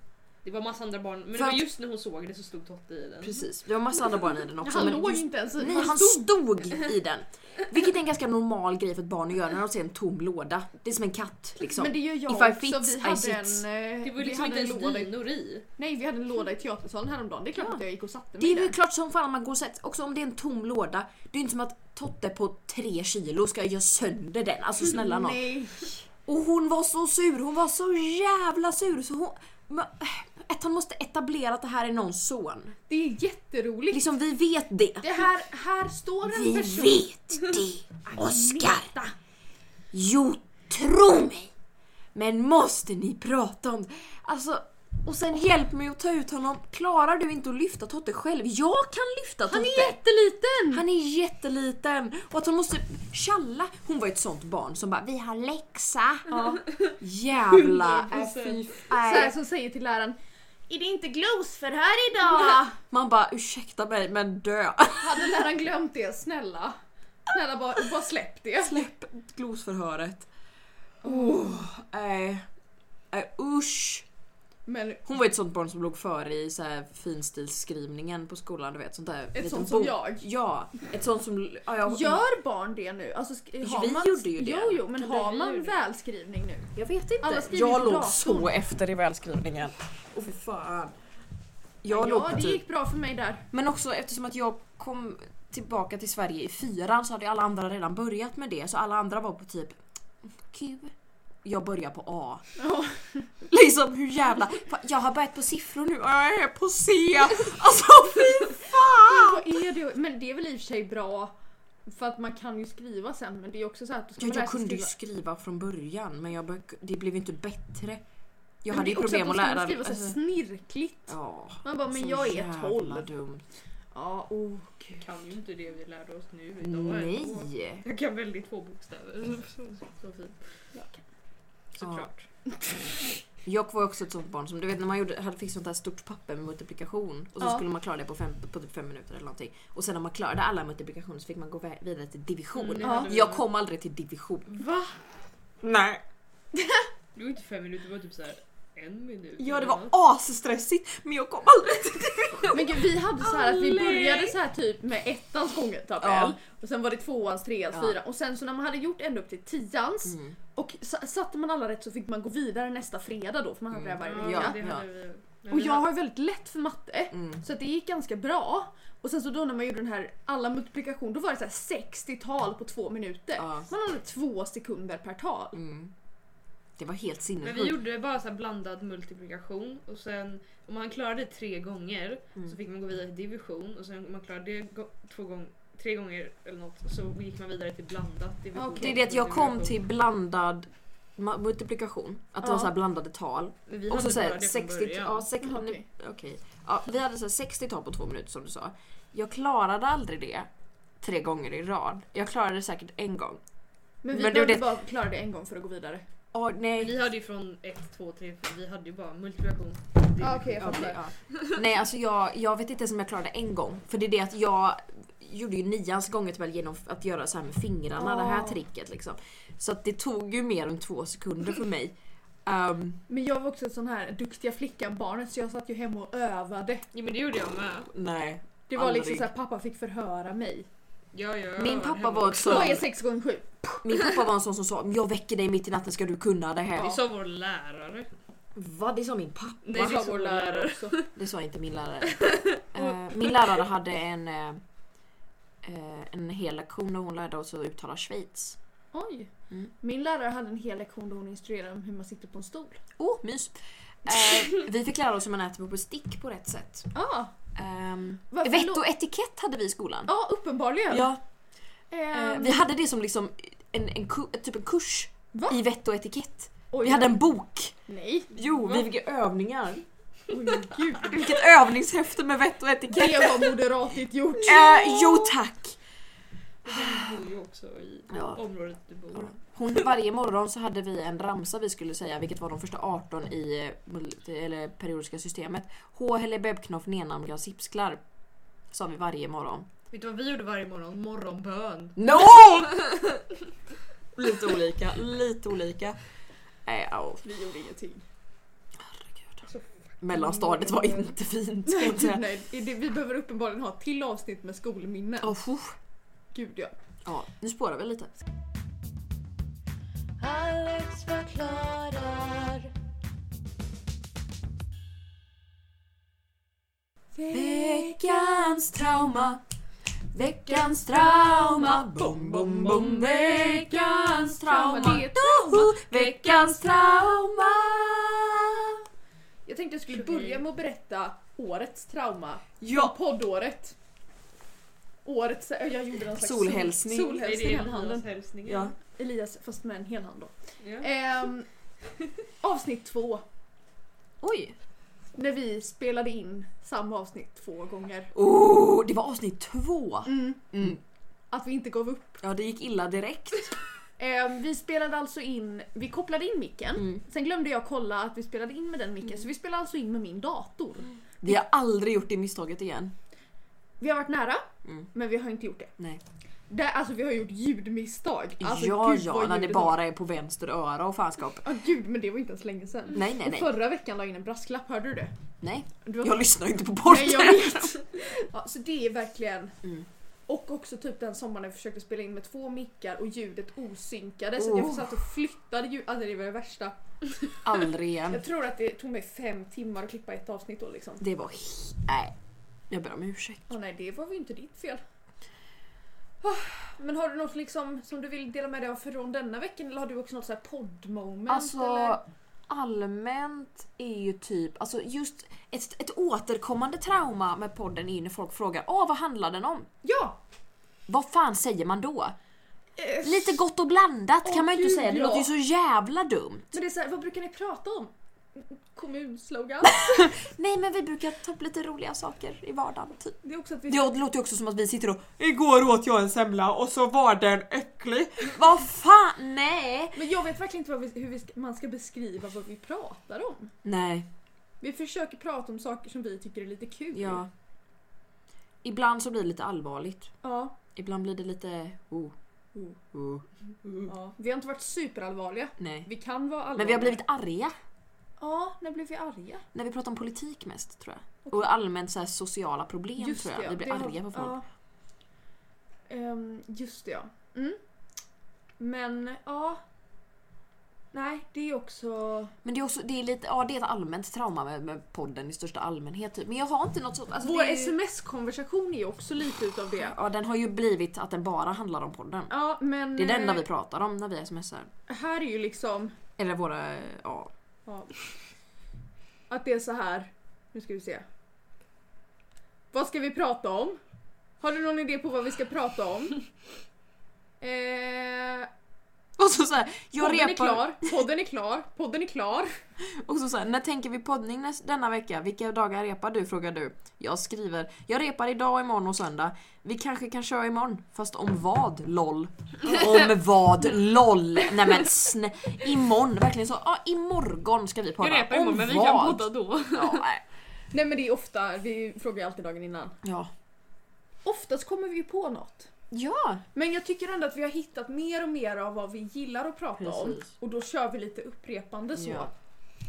Det var massa andra barn, men det För var att- just när hon såg det så stod Totte i den. Precis, det var massa andra barn i den också. han men låg just, inte ens i nej, han stod i den. Vilket är en ganska normal grej för ett barn att göra när de ser en tom låda. Det är som en katt liksom. Men det gör jag If I också. fits, vi I hade en, sits. eh, Det var vi liksom hade inte en ens låda. i- dynor i. Nej, vi hade en låda i teatersalen häromdagen. Det är klart Ja. att jag gick och satte Det mig är väl där. klart som fan att man går och sätter, också om det är en tom låda. Det är inte som att Totte på 3 kilo ska göra sönder den. Alltså snälla nån. Mm, Nej. Och hon var så sur, hon var så jävla sur så hon... Men, äh, att han måste etablera att det här är någons son. Det är jätteroligt. Liksom vi vet det. Det här, här står en Vi person. vet Mm. det! Oskar! Jo, tro mig! Men måste ni prata om det? Alltså, och sen hjälp mig att ta ut honom. Klarar du inte att lyfta Totte själv? Jag kan lyfta Totte! Han är jätteliten! Han är jätteliten och att hon måste tjalla. Hon var ett sånt barn som bara vi har läxa. Jävla... äh, fy- Så här nej. som säger till läraren. Är det inte glosförhör idag? Man bara ursäkta mig men dö. hade läraren glömt det? Snälla. Snälla bara, bara släpp det. Släpp glosförhöret. Oh, nej. Nej, usch. Men Hon var ett sånt barn som låg före i så här finstilsskrivningen på skolan. Du vet sånt där. liten ett sånt som bok. jag. Ja, ett sånt som... Ja, jag, Gör barn det nu? Alltså, sk- har Vi man... gjorde ju det. Jo, jo, men Ja, har vi man gjorde det. välskrivning nu? jag vet inte. Alla skriver jag på låg datorn. så efter i välskrivningen. Åh oh, fy fan. Jag Ja, låg på det typ gick bra för mig där. Men också eftersom att jag kom tillbaka till Sverige i fyran så hade alla andra redan börjat med det så alla andra var på typ Q. Jag börjar på A. Ja. Liksom hur jävla... Fan, Jag har börjat på siffror nu och jag är på C. Alltså fy fan! Vad är det? Men det är väl i och för sig bra för att man kan ju skriva sen men det är också så här att då ska Jag, man lära jag sig kunde ju skriva. skriva från början men jag bör, det blev ju inte bättre. Jag Men hade det ju är också problem att de skulle lära skriva så här alltså, snirkligt. Ja. Man bara, men så jag är jävla 12. dumt. Ja, oh gud. Kan ju inte det vi lärde oss nu idag. Nej! Mm. Jag kan väldigt få bokstäver. Så, så, så fint. Såklart. Jag var också ett sånt barn som du vet när man gjorde, hade fick sånt där stort papper med multiplikation och så Ja. skulle man klara det på, fem, på typ fem minuter eller någonting. Och sen när man klarade alla multiplikationer så fick man gå vä- vidare till division. Mm, det Ja. hade vi Jag med. kom aldrig till division. Va? Nej. Det var inte fem minuter, det var typ såhär en minut. Ja det var asstressigt men jag kom aldrig till Men gud, vi hade så här att vi Aldrig. började så här typ med ettans gångertabell Ja. och sen var det tvåans, treans, Ja. fyran och sen så när man hade gjort ända upp till tians Mm. och sa- satte man alla rätt så fick man gå vidare nästa fredag då för man hade Mm. det här varje Ja, vecka. det Ja. hade vi. Men Och vi jag hade- har ju väldigt lätt för matte Mm. så att det gick ganska bra. Och sen så då när man gjorde den här alla multiplikation då var det så här 60 tal på två minuter. Ja. Man hade två sekunder per tal. Mm. Det var helt Men vi sinnessjukt. gjorde bara så här blandad multiplikation och sen om man klarade det tre gånger Mm. så fick man gå vidare till division och sen om man klarade det gå- två gång, tre gånger eller något så gick man vidare till blandat division. Okej. Det är det att jag kom till blandad ma- multiplikation, att det var Ja. så här blandade tal. Men vi Och så hade såhär bara det från 60... början. Mm, Ja, sex, Jaha, nu- okej. okej. ja, vi hade så här 60 tal på två minuter som du sa. Jag klarade aldrig det tre gånger i rad. Jag klarade det säkert en gång. Men vi Men det är behövde det- bara klara det en gång för att gå vidare. Åh Men nej. Vi hade ju från 1, 2, 3, vi hade ju bara multiplikation. Ja, okej, jag Ah, Ja, fattar. det- ja. Nej alltså jag, jag vet inte ens om jag klarade en gång. För det är det att jag gjorde ju nians gånger väl genom att göra så här med fingrarna, det här Ah. tricket liksom. Så att det tog ju mer än två sekunder för mig. Ehm, Men jag var också sån här duktiga flickan barnet så jag satt ju hemma och övade. Ja men det gjorde jag med. nej. Det var liksom Aldrig. såhär pappa fick förhöra mig. Ja, ja, Min jag pappa hemma. var ett sånt- Vad är 6 gånger 7? Min pappa var en sån som sa jag väcker dig mitt i natten ska du kunna det här. Det sa vår lärare. Va? Det sa min pappa? Nej, det sa vår lärare. också. Det sa inte min lärare. Eh, min lärare hade en, eh, eh, en hel lektion där hon lärde oss att uttala Schweiz. Oj. Mm. Min lärare hade en hel lektion då hon instruerade om hur man sitter på en stol. Åh, oh, mys! Eh, vi fick lära oss hur man äter på stick på rätt sätt. Ja, Ehm, Varför vett lå- och etikett hade vi i skolan. ja uppenbarligen. Ja, eh, Ehm, vi hade det som liksom en, en, ku- typ en kurs Va? i vett och etikett. oj, Vi hade en bok. Nej. Jo, vi fick övningar. Oj, gud. Vilket övningshäfte med vett och etikett. Det var moderatigt gjort. Eh, jo tack! Du bor ju också i Ja. området du bor. Ja. Hon, varje morgon så hade vi en ramsa vi skulle säga, vilket var de första 18 i eh, multi- eller periodiska systemet. H, Helle, Bebknoff, Nenam, Gran, Sipsklar. Sa vi varje morgon. Vet du vad vi gjorde varje morgon? Morgonbön. No! lite olika, lite olika. Nej, ja, Vi gjorde ingenting. herregud. Mellanstadiet var inte fint. ska jag säga. Alltså, Nej, det, vi behöver uppenbarligen ha ett till avsnitt med skolminnen. Åh, fuh. Gud ja. ja, nu spårar vi lite. Alex förklarar. Veckans trauma Veckans trauma Bom, bom, bom Veckans trauma Det är ett Doho! Veckans trauma Jag tänkte jag skulle Okej. börja med att berätta årets trauma. Ja! Poddåret. Årets... Jag gjorde någon slags sol- Solhälsning. Solhälsning i Elias handen. hälsningen? ja. Elias, fast med en hel hand då. Ja. Ehm, avsnitt två. Oj! När vi spelade in samma avsnitt två gånger. Oh, det var avsnitt två! Mm. Mm. Att vi inte gav upp. Ja, det gick illa direkt. Ehm, vi spelade alltså in, vi kopplade in micken. Mm. Sen glömde jag kolla att vi spelade in med den micken så vi spelade alltså in med min dator. Vi har aldrig gjort det misstaget igen. Vi har varit nära, Mm. men vi har inte gjort det. Nej. det alltså vi har gjort ljudmisstag. Alltså, ja, gud, ja, vad när det ljudet- bara är på vänster öra och fanskap. Ja, gud, men det var inte ens länge sedan. Nej, nej, Och nej. förra veckan la jag in en brasklapp, hörde du det? nej. Du var Jag lyssnar ju inte på porten. Nej, jag vet. Ja, så det är verkligen... Mm. Och också typ den sommaren när vi försökte spela in med två mickar och ljudet osynkade så Oh. jag satt och flyttade ljud. Alltså det var det värsta. Aldrig igen. Jag tror att det tog mig fem timmar att klippa ett avsnitt då liksom. Det var... he- Nej. Jag ber om ursäkt. Åh nej, det var ju inte ditt fel. Ah, Men har du något liksom som du vill dela med dig av från denna veckan eller har du också något så här poddmoment? eller? Alltså allmänt är ju typ, alltså just ett, ett återkommande trauma med podden är ju när folk frågar Åh, vad handlar den om? Ja! Vad fan säger man då? Eh, Lite gott och blandat Åh, kan man ju inte gud, säga, det ja. låter ju så jävla dumt. Men det är så här, vad brukar ni prata om? kommunslogan. Nej men vi brukar ta upp lite roliga saker i vardagen typ. Det är också att vi... Det låter ju också som att vi sitter och Igår åt jag en semla och så var den äcklig. Vad fan, nej! Men jag vet verkligen inte vad vi, hur vi ska, man ska beskriva vad vi pratar om. Nej, Vi försöker prata om saker som vi tycker är lite kul. ja. Ibland så blir det lite allvarligt. Ja. Ibland blir det lite... Oh, oh, ja. Vi har inte varit superallvarliga. nej. Vi kan vara allvarliga. Men vi har blivit arga Ja, när blev vi arga? när vi pratar om politik mest tror jag. Och allmänt så här sociala problem tror jag. vi blir det arga på folk. Ja. Ehm, just det ja. Mm. Men ja. Nej, det är också... Men det är också det är lite, ja, det är ett allmänt trauma med, med podden i största allmänhet. Typ. Men jag har inte något sånt. Alltså, Vår det är ju, sms-konversation är ju också lite utav det. ja, den har ju blivit att den bara handlar om podden. Ja, men Det är det enda eh, vi pratar om när vi smsar. här är ju liksom Eller våra, ja. ja, att det är så här. Nu ska vi se. Vad ska vi prata om? Har du någon idé på vad vi ska prata om? Eh, Och så såhär, jag podden är repar. klar, podden är klar, podden är klar. Och så såhär, när tänker vi poddning näst, denna vecka? Vilka dagar repar du? Frågar du. Jag skriver, jag repar idag, imorgon och söndag. Vi kanske kan köra imorgon. Fast om vad? LOL. Om vad? LOL. Nej men snä. Imorgon, verkligen så. Ja, imorgon ska vi podda. Jag repar Om imorgon men vi vad? kan podda då. Ja, nej. Nej men det är ofta, vi frågar ju alltid dagen innan. ja. Oftast kommer vi ju på något. Ja! Men jag tycker ändå att vi har hittat mer och mer av vad vi gillar att prata om. Precis. Och då kör vi lite upprepande så. Ja. Mm.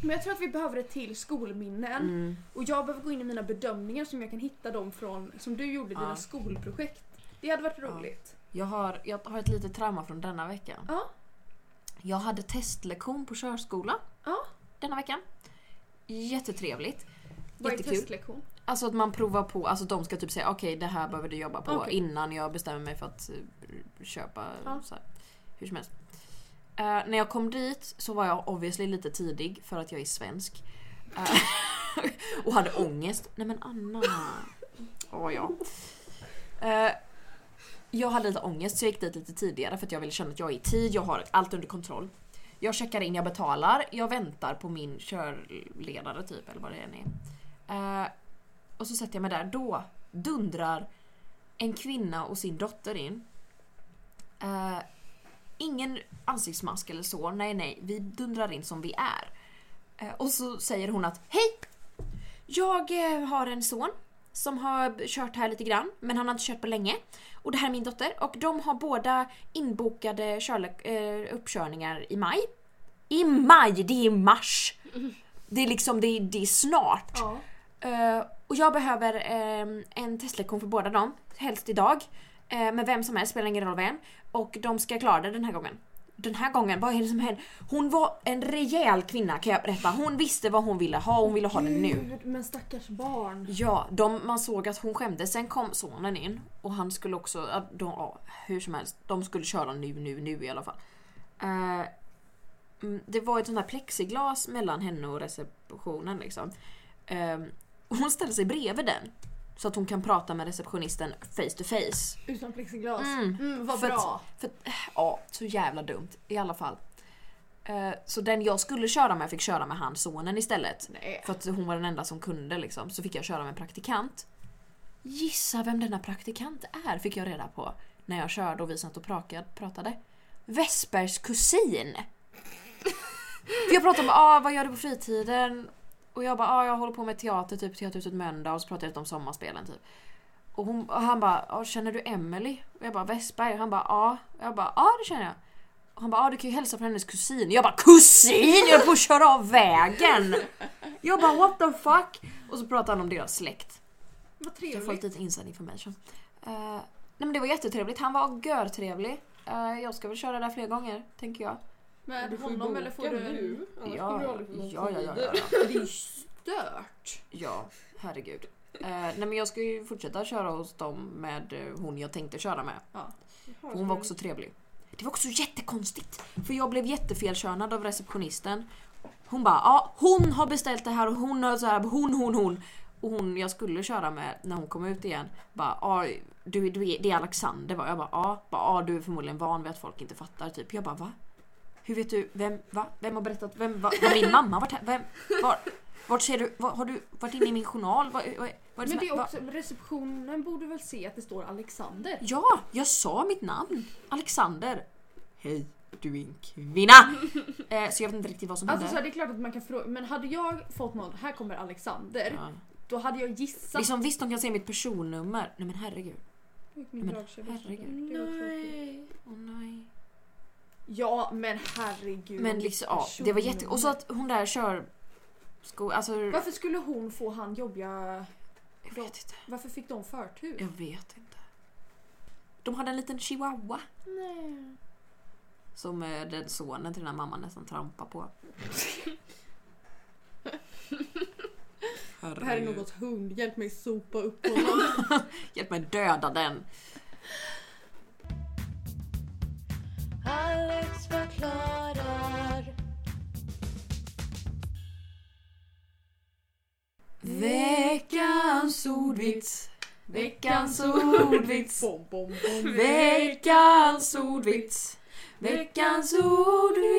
Men jag tror att vi behöver ett till skolminnen. Och jag behöver gå in i mina bedömningar som jag kan hitta dem från, som du gjorde, dina Ja. skolprojekt. Det hade varit roligt. Jag har, jag har ett litet trauma från denna veckan. Ja. Jag hade testlektion på körskola Ja. denna veckan. Jättetrevligt. Vad är Jättekul. testlektion? Alltså att man provar på, alltså de ska typ säga okej det här behöver du jobba på Okej. innan jag bestämmer mig för att eh, köpa Ja. så här. Hur som helst. Eh, när jag kom dit så var jag obviously lite tidig för att jag är svensk. Eh, och hade ångest. Nej men Anna. Åh ja. Eh, jag hade lite ångest så jag gick dit lite tidigare för att jag ville känna att jag är i tid, jag har allt under kontroll. Jag checkar in, jag betalar, jag väntar på min körledare typ eller vad det än är. Eh, och så sätter jag mig där. Då dundrar en kvinna och sin dotter in. Eh, ingen ansiktsmask eller så. Nej, nej. Vi dundrar in som vi är. Eh, och så säger hon att Hej! Jag eh, har en son som har b- kört här lite grann, men han har inte kört på länge. Och det här är min dotter och de har båda inbokade körle- eh, uppkörningar i maj. I maj! Det är mars! Det är liksom, det är, det är snart. Ja. Eh, och jag behöver ehm, en testlektion för båda dem, helst idag. Eh, men vem som helst spelar ingen roll vem. Och de ska klara det den här gången. Den här gången, vad är det som händer? Hon var en rejäl kvinna kan jag berätta. Hon visste vad hon ville ha och hon ville ha det nu. Gud, men stackars barn. Ja, de, man såg att hon skämdes. Sen kom sonen in och han skulle också, ja, de, ja, hur som helst, de skulle köra nu, nu, nu i alla fall. Eh, mm, det var ett sånt här plexiglas mellan henne och receptionen liksom. Eh, och hon ställde sig bredvid den. Så att hon kan prata med receptionisten face to face. Utan plexiglas. Mm. Mm, vad För att- bra. För att, ja, så jävla dumt i alla fall. Eh, så den jag skulle köra med fick köra med han sonen istället. Nej. För att hon var den enda som kunde liksom. Så fick jag köra med en praktikant. Gissa vem denna praktikant är fick jag reda på när jag körde och vi satt och praka- pratade. Vespers kusin! För jag pratade om ah, vad gör du på fritiden? Och jag bara ah, jag håller på med teater, typ Teaterhuset Mölndal och så pratade jag lite om sommarspelen typ. Och, hon, och han bara ah, känner du Emily? Och jag bara Vestberg? Och han bara ja. Och jag bara ja ah, det känner jag. Och han bara ah, du kan ju hälsa från hennes kusin. Jag bara kusin! Jag är på att köra av vägen! Jag bara what the fuck? Och så pratade han om deras släkt. Vad Så jag får trevligt. lite inside information. Eh, nej men det var jättetrevligt, han var görtrevlig. Eh, jag ska väl köra där fler gånger, tänker jag. Med honom eller får du... en- Ja, ja, ja, ja, ja, ja. Det är ju stört. Ja, herregud. Eh, nej men jag ska ju fortsätta köra hos dem med eh, hon jag tänkte köra med. Ja. För Hon var också trevlig. Det var också jättekonstigt. För jag blev jättefelkönad av receptionisten. Hon bara ja, hon har beställt det här och hon har så här, hon, hon, hon. Och hon jag skulle köra med när hon kom ut igen bara ja, du, du är, det är Alexander va? Jag bara ja, bara, ja, du är förmodligen van vid att folk inte fattar typ. Jag bara va? Hur vet du? Vem? Va? Vem har berättat? Vem? Va? Var min mamma? Vart? Vem? Var? Vart ser du? Var, har du varit inne i min journal? Vad, vad, vad är Men som det hä- är va? också, receptionen borde väl se att det står Alexander? Ja, jag sa mitt namn. Alexander. Hej, du är en kvinna. eh, så jag vet inte riktigt vad som Alltså så hände. här, det är klart att man kan fråga, men hade jag fått någon, här kommer Alexander, Ja. då hade jag gissat. Liksom, visst, de kan se mitt personnummer. Nej men herregud. Min men dragkedja. herregud. Det var tråkigt. Åh nej. Ja men herregud. Men liksom, ja, det var jätte... Personnummer. Och så att hon där kör... Sko... Alltså, jag Varför skulle hon få han jobbiga... vet inte. Varför fick de förtur? Jag vet inte. De hade en liten chihuahua. Nej. Som eh, den sonen till den här mamman nästan trampar på. Det här är någons hund, hjälp mig sopa upp honom. Hjälp mig döda den. Alex förklarar. Veckans ordvits. Veckans ordvits. bom, bom, bom. Veckans ordvits. Veckans ordvits.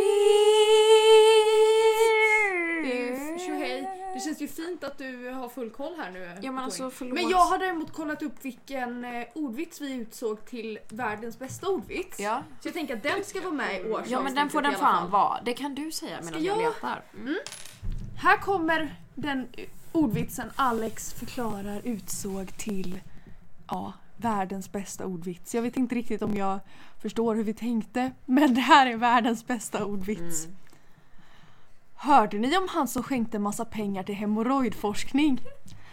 Tjohej. Det känns ju fint att du har full koll här nu. Ja men Poäng. alltså förlåt. Men jag har däremot kollat upp vilken eh, ordvits vi utsåg till världens bästa ordvits. Ja, Så jag tänker att den ska vara med i årsavsnittet ja men den får den i alla fall. fan vara. Det kan du säga medan jag jag? letar. Här kommer den eh, ordvitsen Alex förklarar utsåg till ja, världens bästa ordvits. Jag vet inte riktigt om jag förstår hur vi tänkte, men det här är världens bästa ordvits. Mm. Hörde ni om han som skänkte massa pengar till hemorrojdforskning?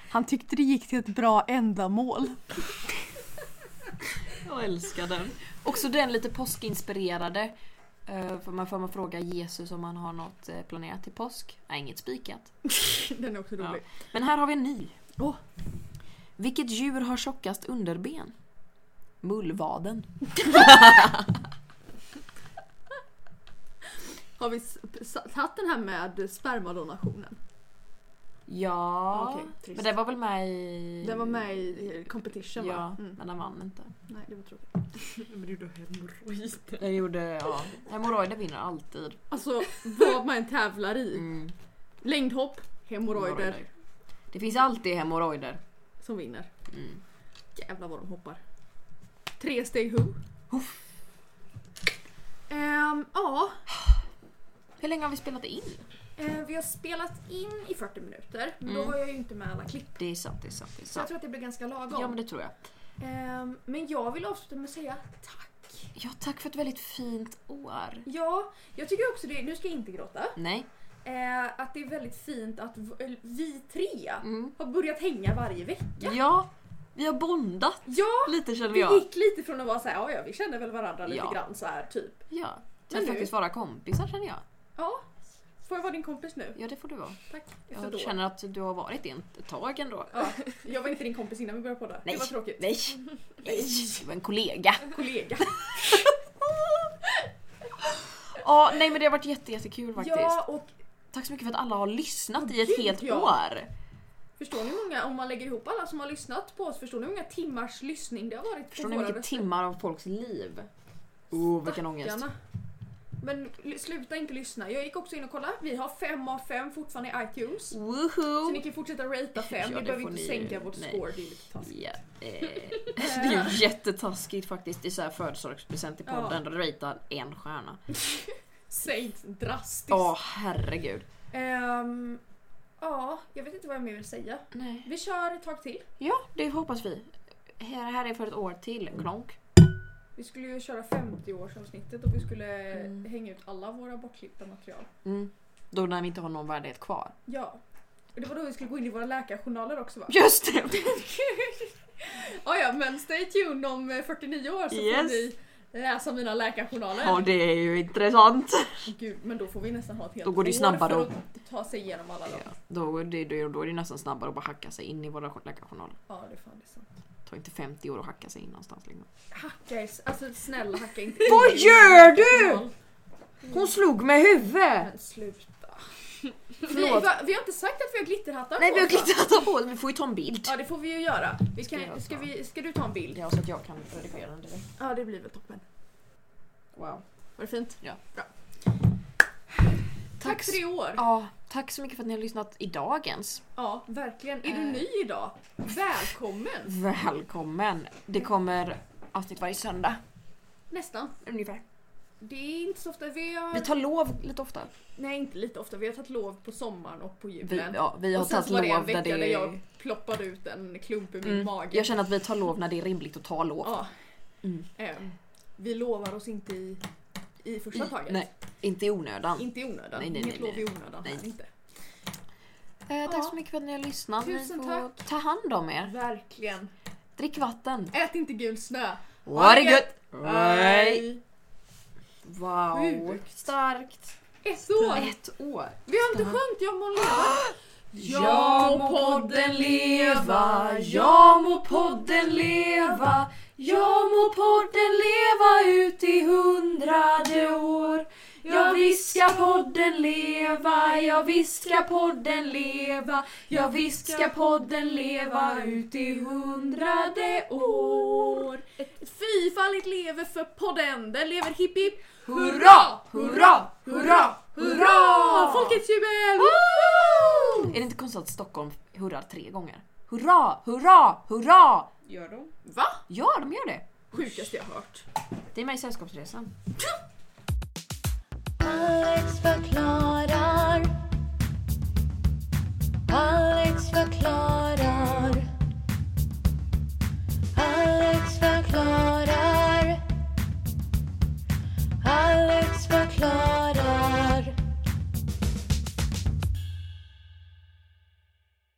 Han tyckte det gick till ett bra ändamål. Jag älskar den. Också den lite påskinspirerade. Eh, För man får man fråga Jesus om han har något eh, planerat till påsk. Nej, inget spikat. Den är också Ja. Men här har vi en ny. Åh. Vilket djur har tjockast underben? Mullvaden. Har vi tagit den här med spermadonationen? Ja. Okej, trist. men det var väl med i... Den var med i competition Ja, va? Mm. men den vann inte. Nej, det var tråkigt. Den gjorde... Ja. Hemorrojder vinner alltid. Alltså vad man än tävlar i. Mm, Längdhopp, hemorrojder Det finns alltid hemorrojder. som vinner. Mm. Jävlar vad de hoppar. Tre steg who? Ehm, ja, Hur länge har vi spelat in? eh, vi har spelat in i 40 minuter, men då Mm. var jag ju inte med alla klipp. Det är sant, det är sant. Det är Så jag sant. tror att det blir ganska lagom. Ja men det tror jag. Ehm, men jag vill avsluta med att säga tack. Ja, tack för ett väldigt fint år. Ja, jag tycker också det, nu ska jag inte gråta, Nej. eh, att det är väldigt fint att v- vi tre Mm. har börjat hänga varje vecka. Ja, vi har bondat Ja, lite känner vi jag. gick lite från att vara såhär, ja ja vi känner väl varandra lite Ja. grann så här typ. Ja, till Men att nu- faktiskt vara kompisar känner jag. Ja, får jag vara din kompis nu? Ja, det får du vara. Tack. Efter då. Jag känner att du har varit det ett tag ändå. Ja, jag var inte din kompis innan vi började podda. Nej. Det var tråkigt. Nej, nej, du var en kollega. Kollega. Ja, nej men det har varit jätte, jättekul faktiskt. Ja, och Tack så mycket för att alla har lyssnat i ett Gud, helt ja. år. förstår ni hur många, om man lägger ihop alla som har lyssnat på oss, förstår ni hur många timmars lyssning det har varit Förstår på ni hur mycket timmar av folks liv? Oh, vilken ångest. Stackarna. Men l- sluta inte lyssna. Jag gick också in och kollade. Vi har 5 av 5 fortfarande i iTunes. Så Woohoo! ni kan fortsätta ratea 5. Oh. Ja, vi det behöver får inte ni- sänka vårt nej. score. Det är lite taskigt. Ja, eh, alltså det är ju jättetaskigt faktiskt i så här födelsedagspresent i podden. Ja. Rita en stjärna. Sänkt drastiskt. Ja, herregud. Ehm, ja, jag vet inte vad jag mer vill säga. Nej. Vi kör ett tag till. Ja, det hoppas vi. Här, här är för ett år till. Klonk. Vi skulle ju köra 50-årsavsnittet och vi skulle Mm. hänga ut alla våra bortklippta material. Mm. Då när vi inte har någon värdighet kvar. Ja. Och det var då vi skulle gå in i våra läkarjournaler också va? Just det! Ja, ja, men stay tuned om eh, 49 år så får Yes. ni läsa mina läkarjournaler. Ja, det är ju intressant. Gud, men då får vi nästan ha ett helt Då går det ju år snabbare för och- att ta sig igenom alla dem. Ja, då, är det, då är det nästan snabbare att bara hacka sig in i våra läkarjournaler. Ja, det är fan det är sant. Det tar inte 50 år att hacka sig in någonstans. Liksom. Hacka is, alltså snälla hacka inte Vad in i gör min du? läkarjournal. Hon slog mig i huvudet! Men sluta. Vi, Förlåt. va, vi har inte sagt att vi har glitterhattar Nej, på vi har oss, va? glittrat på Vi får ju ta en bild. Ja det får vi ju göra. Vi Ska ska, jag ska, ta? vi, ska du ta en bild? Ja, så att jag kan redigera den direkt. Ja det blir väl toppen. Wow. Var det fint? Ja. Bra. Tack tre år! Ja, tack så mycket för att ni har lyssnat i dagens. Ja, verkligen. Eh. Är du ny idag? Välkommen! Välkommen! Det kommer avsnitt varje söndag Nästan. ungefär. Det är inte så ofta vi har... Vi tar lov lite ofta. Nej, inte lite ofta. Vi har tagit lov på sommaren och på Vi, julen. ja, vi har och sen tagit så var det en lov vecka när där det jag är... ploppade ut en klump i min Mm, mage. jag känner att vi tar lov när det är rimligt att ta lov. Ja. Mm. Ehm, vi lovar oss inte i, i första taget. I, nej, inte i onödan. Inte i onödan. Nej, nej, Inget nej, lov i onödan. Nej. här Inte. Eh, tack Ja. så mycket för att ni har lyssnat. Tusen ni får ta hand om er. Verkligen. Drick vatten. Ät inte gul snö. Ha det gött! Nej. Wow. Sjukt. Starkt. Ett år! Ett år. Vi har inte sjungit Jag må leva. Ah. Jag må podden leva, jag må podden leva, jag må podden leva ut i hundrade år. Jag viskar podden leva, jag viskar podden leva, jag viskar podden leva ut i hundrade år. Fyrfaldigt lever för podden. Den lever hipp hipp. Hurra, hurra, hurra, hurra! Folkets jubel! Är det inte konstigt att Stockholm hurrar tre gånger? Hurra, hurra, hurra! Gör de? Va? Ja, de gör det. Sjukaste jag hört. Det är med i Sällskapsresan. Alex förklarar.